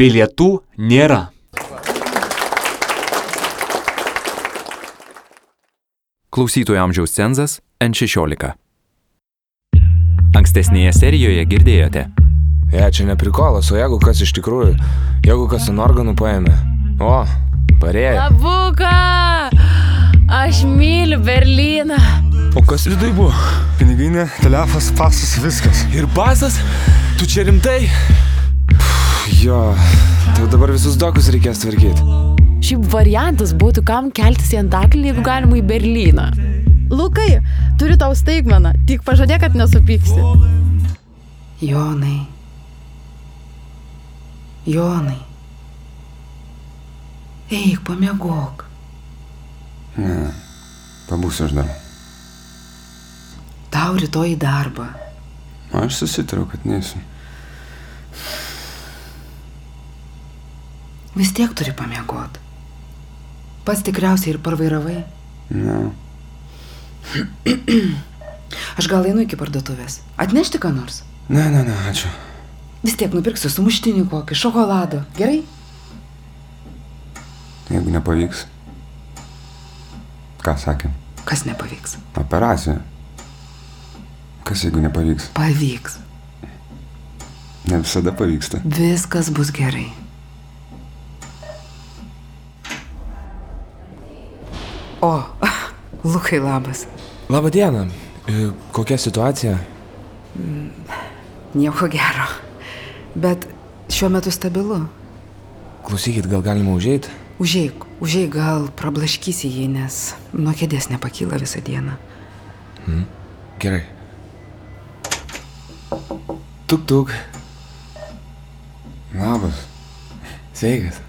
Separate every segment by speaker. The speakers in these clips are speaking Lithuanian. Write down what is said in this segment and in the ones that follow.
Speaker 1: Bilietų nėra.
Speaker 2: Klausytojų amžiaus cenzas N16. Ankstesnėje serijoje girdėjote.
Speaker 3: E, čia ne prikolas, o jeigu kas iš tikrųjų, jeigu kas ant organų paėmė. O, parėjo.
Speaker 4: Abuka! Aš myliu Berliną.
Speaker 5: O kas vidai buvo?
Speaker 6: Piniginė, telefas, pasas, viskas.
Speaker 5: Ir pasas? Tu čia rimtai?
Speaker 3: Jo, tai dabar visus dokus reikės tvarkyti.
Speaker 4: Šiaip variantas būtų, kam keltis į Antaklį, jeigu galima į Berliną.
Speaker 7: Lukai, turiu tau staigmeną, tik pažadėk, kad nesupyksi.
Speaker 8: Jonai. Jonai. Eik, pamiegok.
Speaker 6: Ne, pabūsiu aš dar.
Speaker 8: Tau rytoj į darbą.
Speaker 6: Aš susitariau, kad neisiu.
Speaker 8: Vis tiek turi pamiegot. Pats tikriausiai ir parvairavai.
Speaker 6: Ne,
Speaker 8: Aš gal einu iki parduotuvės. Atnešti ką nors.
Speaker 6: ne, ne, ne ačiū.
Speaker 8: Vis tiek nupirksiu sumuštinį kokį, šokolado. Gerai?
Speaker 6: Jeigu nepavyks. Ką sakė?
Speaker 8: Kas nepavyks?
Speaker 6: Operacija. Kas jeigu nepavyks?
Speaker 8: Pavyks.
Speaker 6: Ne visada pavyksta.
Speaker 8: Viskas bus gerai. O, Lukai labas.
Speaker 3: Labą dieną. E, Kokia situacija?
Speaker 8: Nieko gero. Bet šiuo metu stabilu.
Speaker 3: Klausykit, gal galima užeiti?
Speaker 8: Užėjk, užėjk gal prablaškysi jį, nes nuo kėdės nepakyla visą dieną.
Speaker 3: Gerai. Tuk tuk.
Speaker 6: Labas.
Speaker 3: Sveikas.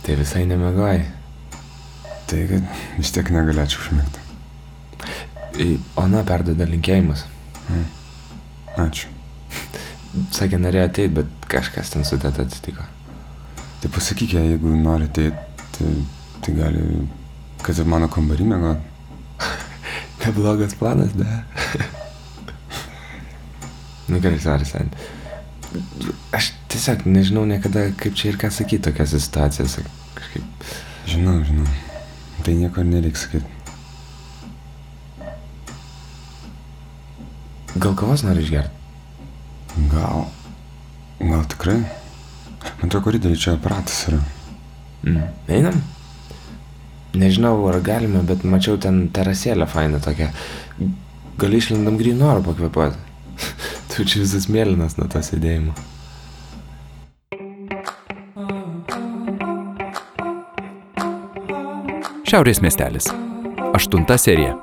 Speaker 3: Tai visai nemegoji.
Speaker 6: Tai, kad vis tiek negalėčiau užmigti.
Speaker 3: Ei, E, Ona perdoda linkėjimus.
Speaker 6: Ačiū.
Speaker 3: Sakė, norėjo ateiti, bet kažkas ten su teta atsitiko.
Speaker 6: Tai pasakyk jai, jeigu nori ateiti, tai, tai gali, kad ir mano kambarį mėgo.
Speaker 3: Neblogas planas, da. nu gerai, sorry, sen. Aš tiesiog nežinau niekada, kaip čia ir ką sakyti tokias situacijas. Kažkaip.
Speaker 6: Žinau, žinau. Tai nieko ir nereiks sakyti.
Speaker 3: Gal kavos nori išgerti?
Speaker 6: Gal. Gal tikrai? Man atrodo, koridoriai čia aparatas yra.
Speaker 3: Mm. Einam? Nežinau, ar galima, bet mačiau ten terasėlę fainą tokią. Gal išlendam grįno oro pakvepuoti. tu čia visas mėlynas nuo to sėdėjimo.
Speaker 2: Šiaurės miestelis. Aštunta serija.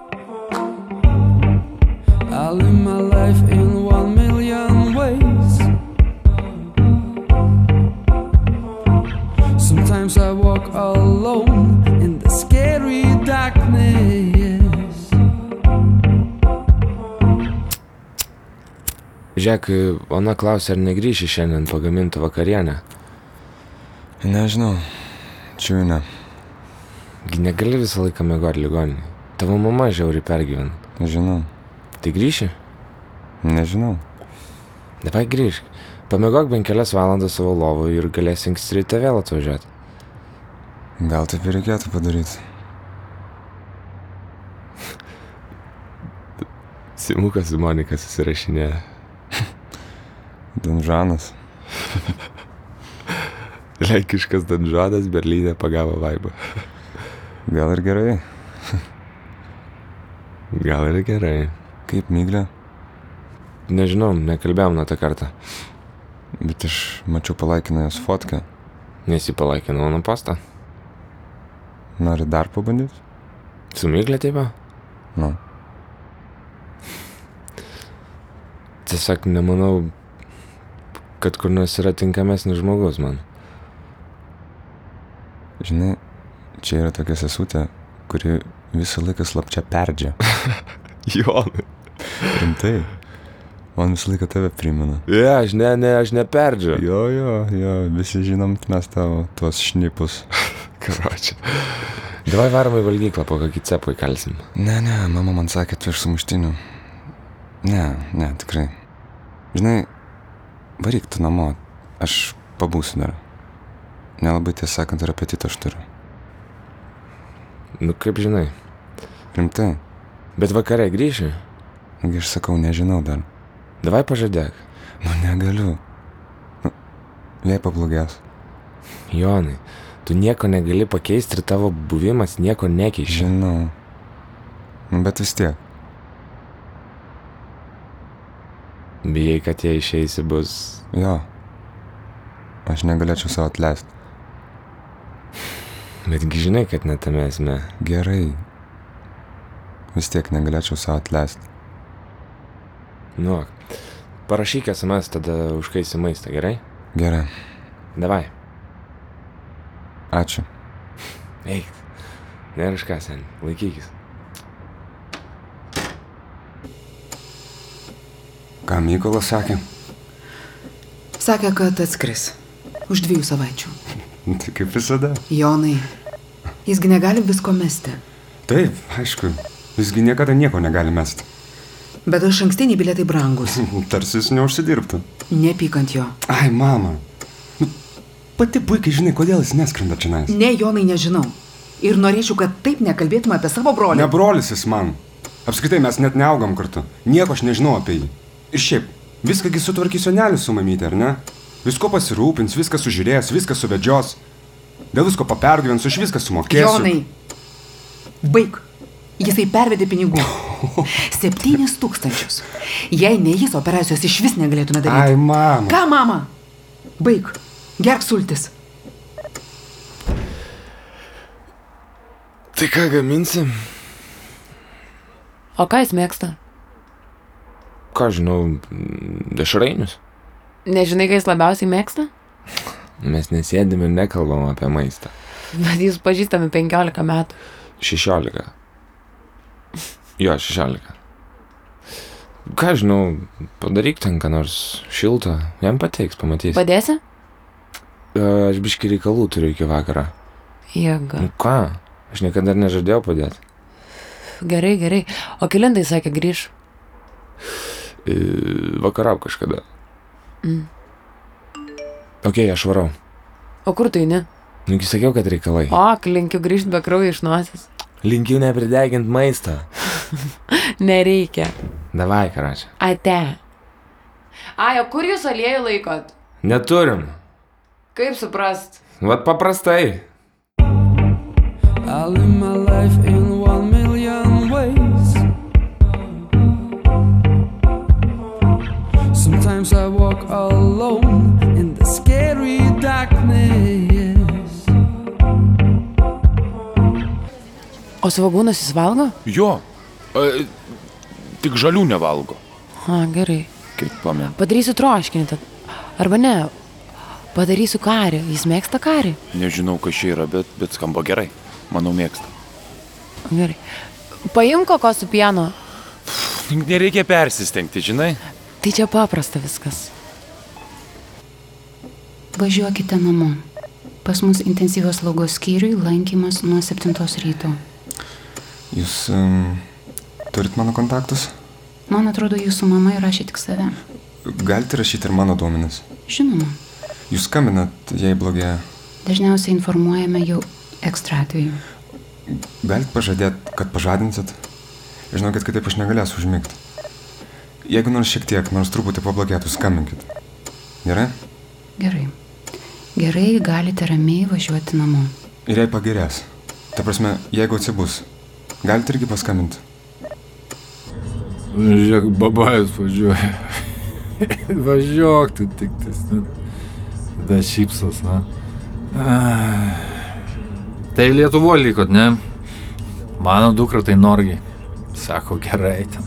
Speaker 9: I live my life in one million ways. Sometimes I walk alone in the scary darkness.
Speaker 3: Žek, ona klausė, ar negryši šiandien pagamintą vakarienę.
Speaker 6: Nežinau. Čia jau ne.
Speaker 3: Gi negali visą laiką mėgoti ligoninį. Tavo mama žiauri pergyvena.
Speaker 6: Žinau.
Speaker 3: Tai grįši?
Speaker 6: Nežinau.
Speaker 3: Dabar grįžk. Pamėgok bent kelias valandas savo lovoje ir galėsi anksti ryte vėl atvažiuoti.
Speaker 6: Gal taip ir reikėtų padaryti.
Speaker 3: Simukas su Monika susirašinė.
Speaker 6: Donžanas.
Speaker 3: Lenkiškas danžadas Berlyne pagavo vaibą.
Speaker 6: Gal ir gerai.
Speaker 3: Gal ir gerai.
Speaker 6: Kaip myglė.
Speaker 3: Nežinau, nekalbėjom nuo tą kartą.
Speaker 6: Bet aš mačiau palaikiną jos fotkę.
Speaker 3: Nes jį palaikino mano postą.
Speaker 6: Nori dar pabandyti?
Speaker 3: Sumiglė taip.
Speaker 6: Nu.
Speaker 3: Tiesiog nemanau, kad kur nors yra tinkamesnis žmogus man.
Speaker 6: Žinai, čia yra tokia sesutė, kuri visą laiką slapčia perdžia.
Speaker 3: Jonai.
Speaker 6: Rimtai. Man visą laiką tave primena.
Speaker 3: Ne, aš ne, ne, aš neperdžiu.
Speaker 6: Jo, jo, jo, visi žinom, mes tavo tuos šnipus.
Speaker 3: Karočią. Dvai varom į valgyklą, po kokį cepą įkalsim.
Speaker 6: Ne, ne, mama man sakė, tu iš sumuštinių. Ne, ne, tikrai. Žinai, varyk tu namo, aš pabūsiu dar. Nelabai tiesą sakant, ir apetitą aš turiu.
Speaker 3: Nu kaip žinai.
Speaker 6: Rimtai,
Speaker 3: Bet vakare grįši.
Speaker 6: nagi aš sakau, nežinau dar.
Speaker 3: Davai pažadėk.
Speaker 6: Nu negaliu. Nu, jei pablogės.
Speaker 3: Jonai, tu nieko negali pakeisti ir tavo buvimas nieko nekeičia.
Speaker 6: Žinau. Nu, bet vis tiek.
Speaker 3: Bijai, kad jie išeisi bus.
Speaker 6: Jo. Aš negalėčiau savo atleisti.
Speaker 3: Betgi žinai, kad netame esme.
Speaker 6: Gerai. Vis tiek negalėčiau savo atleisti.
Speaker 3: Nu, ak. parašyk SMS, tada užkaisi maistą, gerai?
Speaker 6: Gerai.
Speaker 3: Davai,
Speaker 6: Ačiū.
Speaker 3: eik. Nėra iš ką, sen, laikykis.
Speaker 6: Ką Mykolas sakė?
Speaker 8: Sakė, kad atskris. Už dviejų savaičių.
Speaker 6: Tai kaip visada.
Speaker 8: Jonai, jisgi negali visko mesti.
Speaker 6: Taip, aišku. Visgi niekada nieko negali mest.
Speaker 8: Bet aš ankstiniai bilietai brangus.
Speaker 6: Tarsi jis neužsidirbtų.
Speaker 8: Nepykant jo.
Speaker 6: Ai, mama. Nu, Pati puikiai žinai, kodėl jis neskrenda čia.
Speaker 8: Ne, Jonai, nežinau. Ir norėčiau, kad taip nekalbėtum apie savo brolį.
Speaker 6: Ne brolis jis man. Apskritai mes net neaugam kartu. Nieko aš nežinau apie jį. Ir šiaip, viskągi sutvarkys senelis su mamytė, ar ne? Visko pasirūpins, viską sužiūrės, viską suvedžios. Dėl visko papergyvens, už viską sumokės.
Speaker 8: Jonai, baig. Jisai pervedė pinigų. Septynis tūkstančius. Jei ne jis operacijos iš vis negalėtume
Speaker 6: Ai,
Speaker 8: daryti.
Speaker 6: mama.
Speaker 8: Ką, mama? Baig. Gerk sultis.
Speaker 3: Tai ką gaminsi?
Speaker 4: O ką jis mėgsta?
Speaker 3: Ką žinau, mm, dešrainius.
Speaker 4: Nežinai, ką jis labiausiai mėgsta?
Speaker 3: Mes nesėdim ir nekalbam apie maistą.
Speaker 4: Bet jūs pažįstami 15 metų.
Speaker 3: 16. Jo, 16. Ką žinau, padaryk ten ką nors šiltą, jam pateiks, pamatys.
Speaker 4: Padėsi?
Speaker 3: E, Aš biški reikalų turiu iki vakaro.
Speaker 4: Jėga.
Speaker 3: Nu ką, aš niekada ir nežadėjau padėti.
Speaker 4: Gerai, gerai. O kilintai sakė grįž.
Speaker 3: E, Vakarau kažkada. Ok, aš varau.
Speaker 4: O kur tu eini?
Speaker 3: Nugi sakiau, kad reikalai.
Speaker 4: O, linkiu grįžti be kraujo iš nosies.
Speaker 3: Linkiu nepridegint maistą.
Speaker 4: Nereikia.
Speaker 3: Davai, karačia.
Speaker 4: Ate. Ai, o kur jūs aliejų laikot?
Speaker 3: Neturim.
Speaker 4: Kaip suprast?
Speaker 3: Vat paprastai.
Speaker 9: I live my life in one million ways. Sometimes I walk alone in the scary darkness.
Speaker 4: O svagūnas jis valgo?
Speaker 5: Jo. E, tik žalių nevalgo.
Speaker 4: A, gerai.
Speaker 5: Kaip pamenu.
Speaker 4: Padarysiu troškinį tad. Arba ne. Padarysiu karį. Jis mėgsta karį.
Speaker 5: Nežinau, kas čia yra, bet, bet skamba gerai. Manau, mėgsta.
Speaker 4: Gerai. Paimk ko su pieno.
Speaker 5: Nereikia persistengti, žinai.
Speaker 4: Tai čia paprasta viskas.
Speaker 1: Važiuokite namo. Pas mus intensyvios slaugos skyriui lankymas nuo 7 ryto.
Speaker 6: Jūs um, turit mano kontaktus?
Speaker 1: Man atrodo, jūsų mama įrašė tik save.
Speaker 6: Galite rašyti ir mano duomenis.
Speaker 1: Žinoma,
Speaker 6: Jūs skambinat, jei blogėja.
Speaker 1: dažniausiai informuojame jau ekstra atveju.
Speaker 6: Galit pažadėt, kad pažadinsit? Žinokit, kitaip aš negalėsiu užmigti. Jeigu nors šiek tiek, nors truputį pablogėtų, skambinkit. Gerai?
Speaker 1: Gerai. Gerai, galite ramiai važiuoti namo.
Speaker 6: Ir jei pagerės. Ta prasme, jeigu atsibus, galite irgi paskambinti.
Speaker 10: Nu, Žiūrėk, babajus važiuoja. Važiuok, tu tik tas. nu. Tada šypsos, na. Ai. Tai Lietuvo likot, ne? Mano dukra tai Norgi. Sako, gerai ten.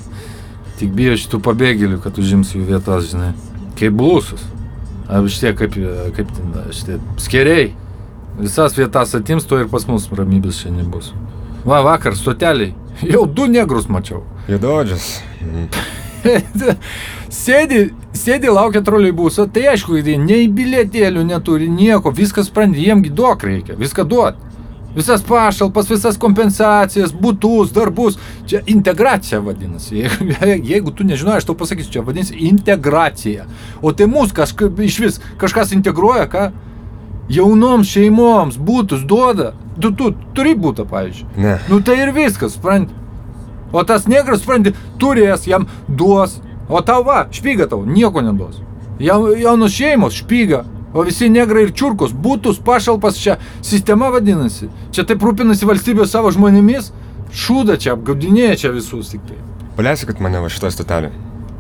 Speaker 10: Tik bijo šitų pabėgėlių, kad užims jų vietas, žinai. Kaip blusus. Ar šitie kaip, e, kaip ten, e, šitie skeriai. Visas vietas atims, to ir pas mus ramybės šiandien bus. Va, vakar stoteliai. Jau du negrus mačiau.
Speaker 6: Jėdodžius.
Speaker 10: sėdi, sėdi, laukia troleibuso, tai aišku, jie nei bilietėlių neturi, nieko, viskas sprendė, jiems duok reikia, viską duot. Visas pašalpas, visas kompensacijas, būtus, darbus. Čia integracija vadinasi. Jeigu, jeigu tu nežinai, aš tau pasakysiu, čia vadinasi integracija. O tai mus kažkaip iš vis kažkas integruoja, ką jaunoms šeimoms būtus duoda. Tu, tu turi būtą, pavyzdžiui.
Speaker 6: Ne.
Speaker 10: Nu tai ir viskas, supranti. O tas negras, supranti, turės, jam duos. O tau va, špyga tau, nieko neduos. Jau, jaunos šeimos špyga. O visi negrai ir čiurkos, būtus, pašalpas čia sistema vadinasi. Čia taip rūpinasi valstybė savo žmonėmis, šūda čia apgaudinėja čia visus tik tai.
Speaker 6: Paleiskit mane va šitą stotelį.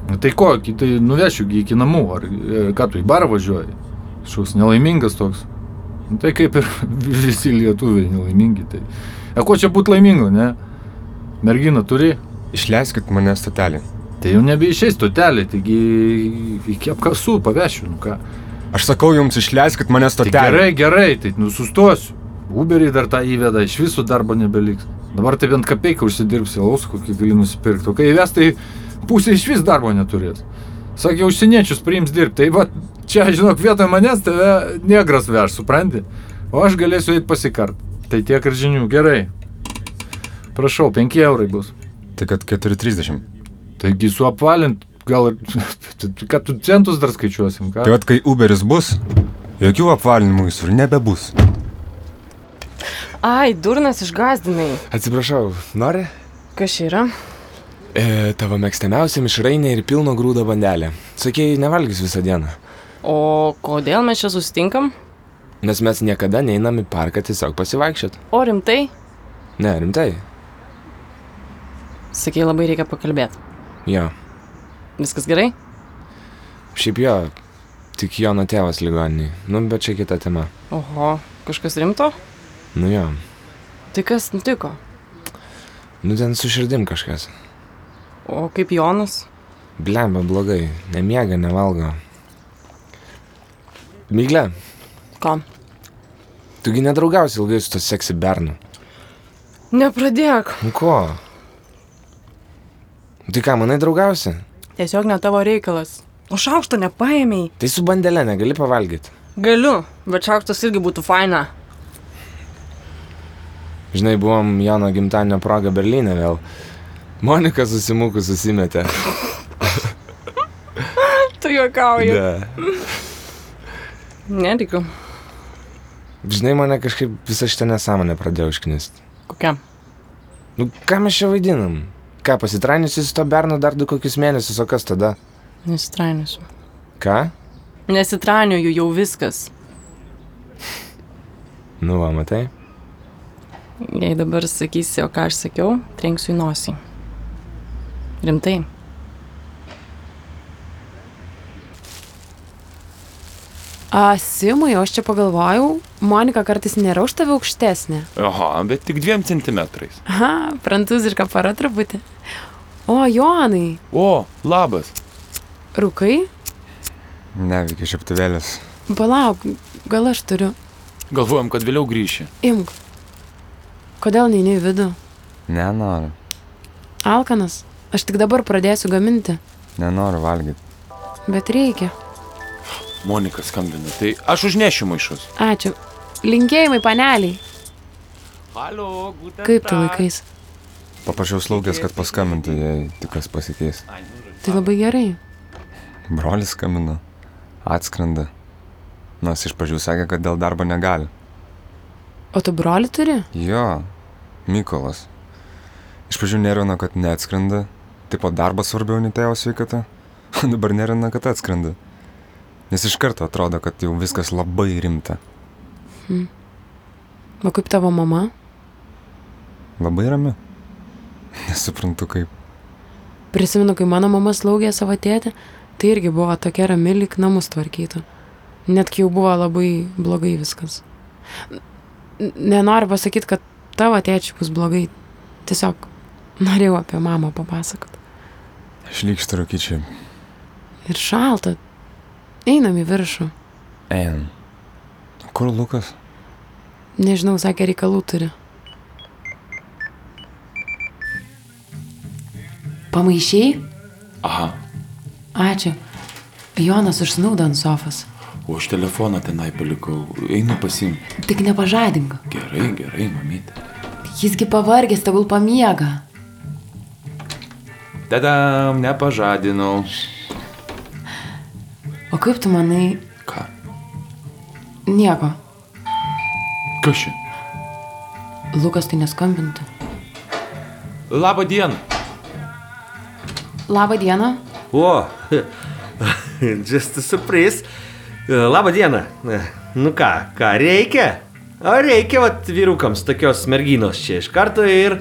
Speaker 10: Na Tai ko, ki- tai nuvešiu gi iki namų, ar e, ką tu į barą važiuoji? Šus nelaimingas toks. Nu, Tai kaip ir visi lietuviai nelaimingi. Tai. E ko čia būti laimingu, ne? Mergina turi?
Speaker 6: Išleiskit mane stotelį.
Speaker 10: Tai jau nebeišės stotelė, taigi iki apkasų pavešiu, nu ką.
Speaker 6: Aš sakau jums, išleiskit mane
Speaker 10: Tai
Speaker 6: stotelį.
Speaker 10: gerai, gerai, tai nu sustosiu. Uberį dar tą įveda, iš visų darbo nebeliks. Dabar tai bent kapeiką užsidirbsi, laus kokį gali nusipirkti. O kai įves, tai pusė iš vis darbo neturės. Sakė, užsieniečius priims dirbti. Tai va, čia, žinok, vietoj manęs tave negras veš, supranti? O aš galėsiu eiti pasikart. Tai tiek ir žinių, gerai. Prašau, 5 eurai bus.
Speaker 6: Tai kad 4.30.
Speaker 10: Taigi suapvalint, gal ir... Kad tu centus dar skaičiuosim, ką?
Speaker 6: Tai vad, kai Uberis bus, jokių apvalinimų visur nebebus.
Speaker 11: Ai, durnas išgazdinai.
Speaker 3: Atsiprašau, nori?
Speaker 11: Kas čia yra?
Speaker 3: E, tavo mėgstamiausia mišrainė ir pilno grūdo bandelė. Sakėjai, nevalgys visą dieną.
Speaker 11: O kodėl mes čia sustinkam?
Speaker 3: Nes mes niekada neinam į parką tiesiog pasivaikščiot.
Speaker 11: O rimtai?
Speaker 3: Ne, rimtai.
Speaker 11: Sakei, labai reikia pakalbėti.
Speaker 3: Jo.
Speaker 11: Viskas gerai?
Speaker 3: Šiaip jo, tik Jono tėvas ligoniniai. Nu, bet čia kita tema.
Speaker 11: Oho, kažkas rimto?
Speaker 3: Nu jo.
Speaker 11: Tai kas nutiko?
Speaker 3: Nu ten su širdim kažkas.
Speaker 11: O kaip Jonas?
Speaker 3: Blemba blogai. Nemiega, nevalgo. Mygle,
Speaker 11: Ką?
Speaker 3: tugi nedraugausi ilgai su to seksi bernu.
Speaker 11: Nepradėk.
Speaker 3: Nu ko? Tai ką, manai draugausi?
Speaker 11: Tiesiog ne tavo reikalas. O šaukšto nepaėmiai.
Speaker 3: Tai su bandelė negali pavalgyti.
Speaker 11: Galiu, bet šaukštas irgi būtų faina.
Speaker 3: Žinai, buvom Jono gimtadienio proga Berlyne vėl. Monika susimūkus susimetė.
Speaker 11: Tu juokauji.
Speaker 3: Ne.
Speaker 11: Netikiu.
Speaker 3: Žinai, mane kažkaip visą šitą nesąmonę pradėjo užknisti.
Speaker 11: Kokia?
Speaker 3: Nu, ką mes čia vaidinam? Ką, pasitrainiusi su to bernu dar du kokius mėnesius, o kas tada?
Speaker 11: Nesitrainiusiu.
Speaker 3: Ką?
Speaker 11: Nesitrainiuju jau viskas.
Speaker 3: Nu, va, matai?
Speaker 11: Jei dabar sakysi, o ką aš sakiau, trenksiu į nosį. Rimtai.
Speaker 4: A, Simai, o aš čia pagalvojau, Monika kartais nėra už tave aukštesnė.
Speaker 5: Aha, bet tik dviem centimetrais.
Speaker 4: Aha, prancūziška para truputį. O, Jonai,
Speaker 5: O, labas.
Speaker 4: rūkai?
Speaker 6: Neveikia šiaptuvėlis.
Speaker 4: Palauk, gal aš turiu.
Speaker 5: Galvojom, kad vėliau grįši.
Speaker 4: Imk. Kodėl neini į vidų?
Speaker 12: Nenoriu,
Speaker 4: Alkanas, aš tik dabar pradėsiu gaminti,
Speaker 12: nenoriu valgyti.
Speaker 4: bet reikia.
Speaker 5: Monika skambina, tai aš užnešiu maišus.
Speaker 4: Ačiū. Linkėjimai, paneliai.
Speaker 5: Halo, guten
Speaker 4: Kaip tu laikais?
Speaker 6: Paprašiau slaugės, kad paskambintų, jei tikras pasikeis.
Speaker 4: Tai labai gerai.
Speaker 12: Brolis skambino, atskrenda. Nors iš pradžių sakė, kad dėl darbo negali.
Speaker 4: O tu broli turi?
Speaker 12: Jo, Mykolas. Iš pradžių nervino, kad neatskrenda, tai po darbo svarbiau nei tėvo sveikata, o dabar nervino, kad atskrenda. Nes iš karto atrodo, kad jau viskas labai rimta.
Speaker 4: Hm. O kaip tavo mama?
Speaker 12: Labai rami. Nesuprantu kaip.
Speaker 4: Prisimenu, kai mano mama slaugė savo tėtį, tai irgi buvo tokia rami, lyg namus tvarkytų. Net kai jau buvo labai blogai viskas. N- Nenoriu pasakyti, kad tavo tėčiui bus blogai. Tiesiog norėjau apie mamą papasakot.
Speaker 12: Šlykštų rūkyčiai.
Speaker 4: Ir šalta. Einam į viršų.
Speaker 12: Ein. Kur Lukas?
Speaker 4: Nežinau, sakė, reikalų turi.
Speaker 1: Pamaišiai?
Speaker 5: Aha.
Speaker 1: Ačiū. Jonas užsnūdo ant sofos.
Speaker 5: O aš telefoną tenai palikau. Einu pasimti.
Speaker 13: Tik nepažadink.
Speaker 5: Gerai, gerai, mamytė.
Speaker 13: Jisgi pavargęs, tegul pamiega.
Speaker 5: Tada nepažadinau.
Speaker 4: O kaip tu manai?
Speaker 5: Ką?
Speaker 4: Nieko.
Speaker 5: Kas čia?
Speaker 4: Lukas tai neskambintų.
Speaker 10: Labą dieną.
Speaker 4: Labą dieną.
Speaker 10: O, just a surprise. Labą dieną. Nu ką, ką reikia? O reikia, vat, vyrukams tokios merginos čia iš karto ir...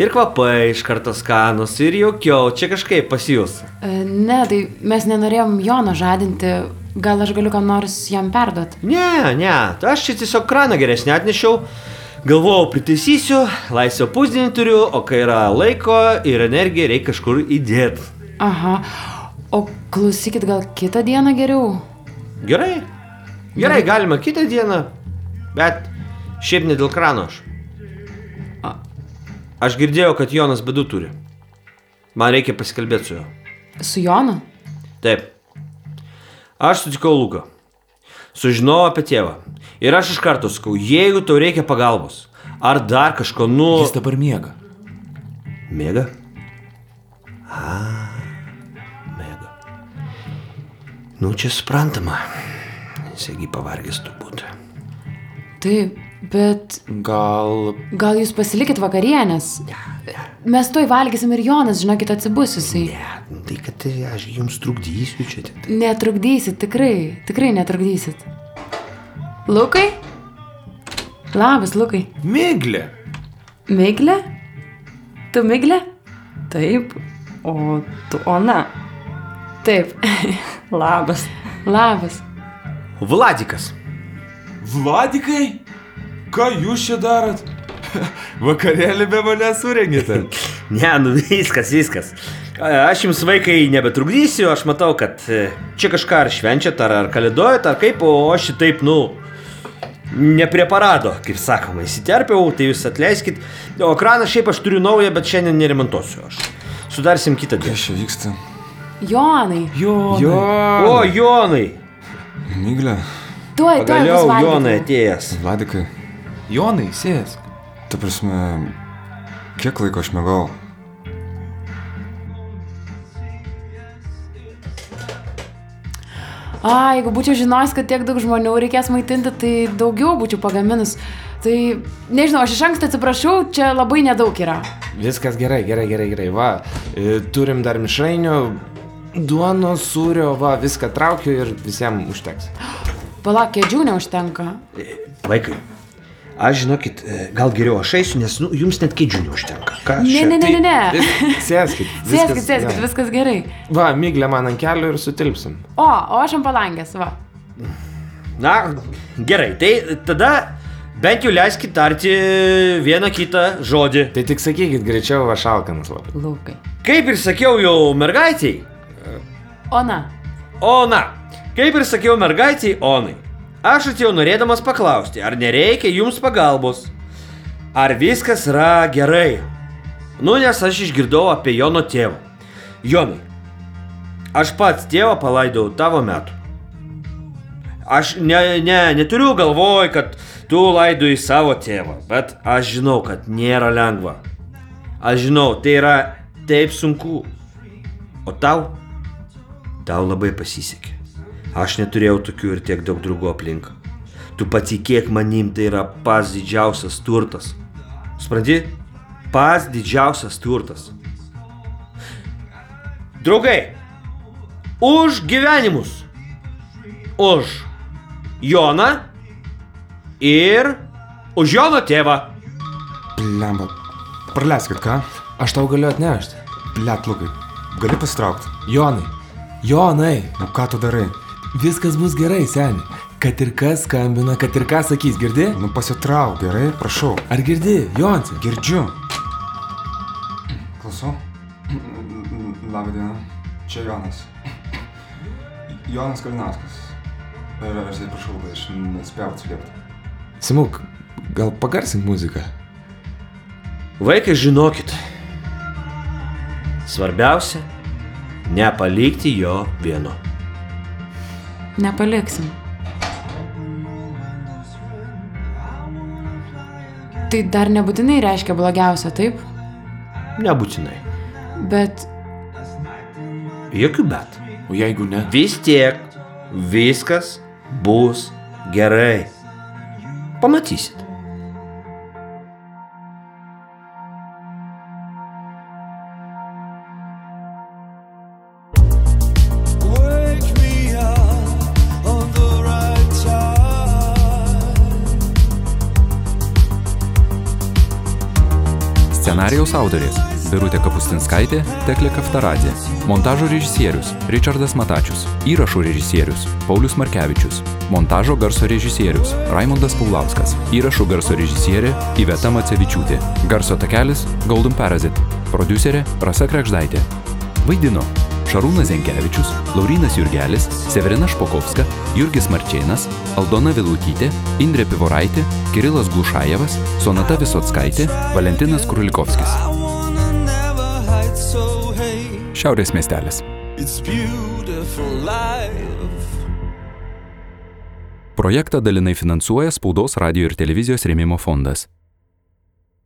Speaker 10: Ir kvapai iš karto skanus, ir jaukiau, čia kažkaip pasijus.
Speaker 4: E, Ne, tai mes nenorėjom Jono žadinti. Gal aš galiu kam nors jam perduot?
Speaker 10: Ne, ne, aš čia tiesiog kraną geresnį atnešiau. Galvojau, pritaisysiu, laisvę pusdienį turiu, o kai yra laiko ir energiją reikia kažkur įdėti.
Speaker 4: Aha. O klausykit, gal kitą dieną geriau?
Speaker 10: Gerai, gerai, galima kitą dieną, bet šiaip ne dėl krano aš. A- Aš girdėjau, kad Jonas bedų turi. Man reikia pasikalbėti su juo.
Speaker 4: Su Jonu?
Speaker 10: Taip. Aš sutikau Luką. Sužinojau apie tėvą. Ir aš iš karto sakau, jeigu tau reikia pagalbos, ar dar kažko nu... Jis
Speaker 5: dabar miega.
Speaker 10: Mėga? Nu, čia suprantama. Sėgi pavargęs turbūt.
Speaker 4: Taip, bet
Speaker 5: Gal
Speaker 4: gal jūs pasilikit vakarienės? Mes tuoj valgysim ir Jonas, žinokit, atsibus jisai.
Speaker 10: Tai kad aš jums trukdysiu čia. tik.
Speaker 4: Netrukdysit, tikrai, tikrai netrukdysit. Lukai? Labas, Lukai.
Speaker 5: Miglė.
Speaker 4: Miglė? Tu Miglė?
Speaker 14: Taip, o tu Ona.
Speaker 4: Taip.
Speaker 14: Labas.
Speaker 4: Labas.
Speaker 10: Vladikas.
Speaker 3: Vladikai? Ką jūs čia darot? Vakarėlį be manęs surengėte.
Speaker 10: Ne, nu viskas, viskas. A- Aš jums vaikai nebetrukdysiu, aš matau, kad e, čia kažką ar švenčiat, ar, ar kalėdojat, ar kaip, o aš šitaip, nu, nepreparado, kaip sakoma, įsiterpiau, tai jūs atleiskit. O ekraną šiaip aš turiu naują, bet šiandien neremontuosiu aš. Sudarsim kitą dieną. Kas čia vyksta?
Speaker 4: Jonai.
Speaker 10: Jonai. O, Jonai.
Speaker 6: Miglė.
Speaker 4: Tuoj, tuoj. bus valgyti.
Speaker 10: atėjęs.
Speaker 6: Vladikai.
Speaker 5: Jonai, sės.
Speaker 6: Tu prasme, kiek laiko aš mėgau?
Speaker 4: A, jeigu būčiau žinojęs, kad tiek daug žmonių reikės maitinti, tai daugiau būčiau pagaminus. Tai nežinau, aš iš anksto atsiprašau, čia labai nedaug yra.
Speaker 3: Viskas gerai, gerai, gerai, gerai. Va, e, turim dar mišrainių, duonos, sūrio, va, viską traukiu ir visiems užteks.
Speaker 4: Palauk, kėdžių neužtenka.
Speaker 10: Vaikai. Aš žinokit, e, gal geriau aš eisiu, nes nu, jums net kėdžių neužtenka. Ką aš
Speaker 4: Ne,
Speaker 10: čia-
Speaker 4: ne, ne, ne, ne.
Speaker 3: Vis- Sėskit.
Speaker 4: Sėskit, sėskit, viskas gerai.
Speaker 3: Va, myglė man ant kelių ir sutilpsim.
Speaker 4: O, o aš ant palangės, va.
Speaker 10: Na, gerai, tai tada bent jau leiskit tarti vieną kitą žodį.
Speaker 3: Tai tik sakykit greičiau, aš alkanas labai.
Speaker 14: Laukai.
Speaker 10: Kaip ir sakiau jau mergaitiai,
Speaker 4: Ona.
Speaker 10: Ona, kaip ir sakiau mergaitiai Onai, aš atėjau norėdamas paklausti, ar nereikia jums pagalbos, ar viskas yra gerai. Nu, nes aš išgirdau apie Jono tėvą. Jonai, aš pats tėvą palaidau tavo metu. Aš ne, ne, neturiu galvoj, kad tu laidoji savo tėvą, bet aš žinau, kad nėra lengva. Aš žinau, tai yra taip sunku. O tau? Tau labai pasisekė. Aš neturėjau tokių ir tiek daug draugų aplink. Tu patikėk manim, tai yra pats didžiausias turtas. Sprandi? Pats didžiausias turtas. Draugai, už gyvenimus. Už Joną ir už Jono tėvą.
Speaker 6: Blemba. Praleiskit, ką?
Speaker 3: Aš tau galiu atnešti.
Speaker 6: Blet, Lukai. Gali pasitraukti.
Speaker 3: Jonai. Jonai.
Speaker 12: Nu,
Speaker 6: Na ką tu darai?
Speaker 3: Viskas bus gerai, seniai. Kad ir kas skambina, kad ir ką sakys, girdi?
Speaker 6: Nu pasitrauk, gerai, prašau.
Speaker 3: Ar girdi, Jonsi?
Speaker 6: Girdžiu. Klausau. Labą dieną. Čia Jonas. Jonas Kalinauskas. Ir aš atsiprašau, bet aš nespėjau atsiliepti.
Speaker 3: Simuk, gal pagarsink muziką?
Speaker 10: Vaikai, žinokit. Svarbiausia - nepalikti jo vieno.
Speaker 4: Nepaliksim. tai dar nebūtinai reiškia blogiausia, taip?
Speaker 3: Nebūtinai.
Speaker 4: Bet
Speaker 3: Jokių bet.
Speaker 5: O jeigu ne?
Speaker 3: Vis tiek viskas bus gerai. Pamatysit.
Speaker 10: Wake me up on the right time.
Speaker 2: Scenarijaus autorės - Birutė Kapustinskaitė, Teklė Kaftaradė. Montažo režisierius - Richardas Matačius. Įrašų režisierius - Paulius Markevičius. Montažo garso režisierius - Raimondas Paulauskas. Įrašų garso režisierė - Iveta Macevičiūtė. Garso takelis - Golden Parasite. Producerė - Rasa Krekždaitė. Vaidino - Šarūnas Zenkevičius, Laurinas Jurgelis, Severina Špokovska, Jurgis Marčėnas, Aldona Vilutytė, Indrė Pivoraitė, Kirilas Glušajevas, Sonata Visotskaitė, Valentinas Krulikovskis.
Speaker 10: Never hide, so hey,
Speaker 2: Šiaurės miestelis.
Speaker 10: it's beautiful life.
Speaker 2: Projektą dalinai finansuoja Spaudos radio ir televizijos rėmimo fondas.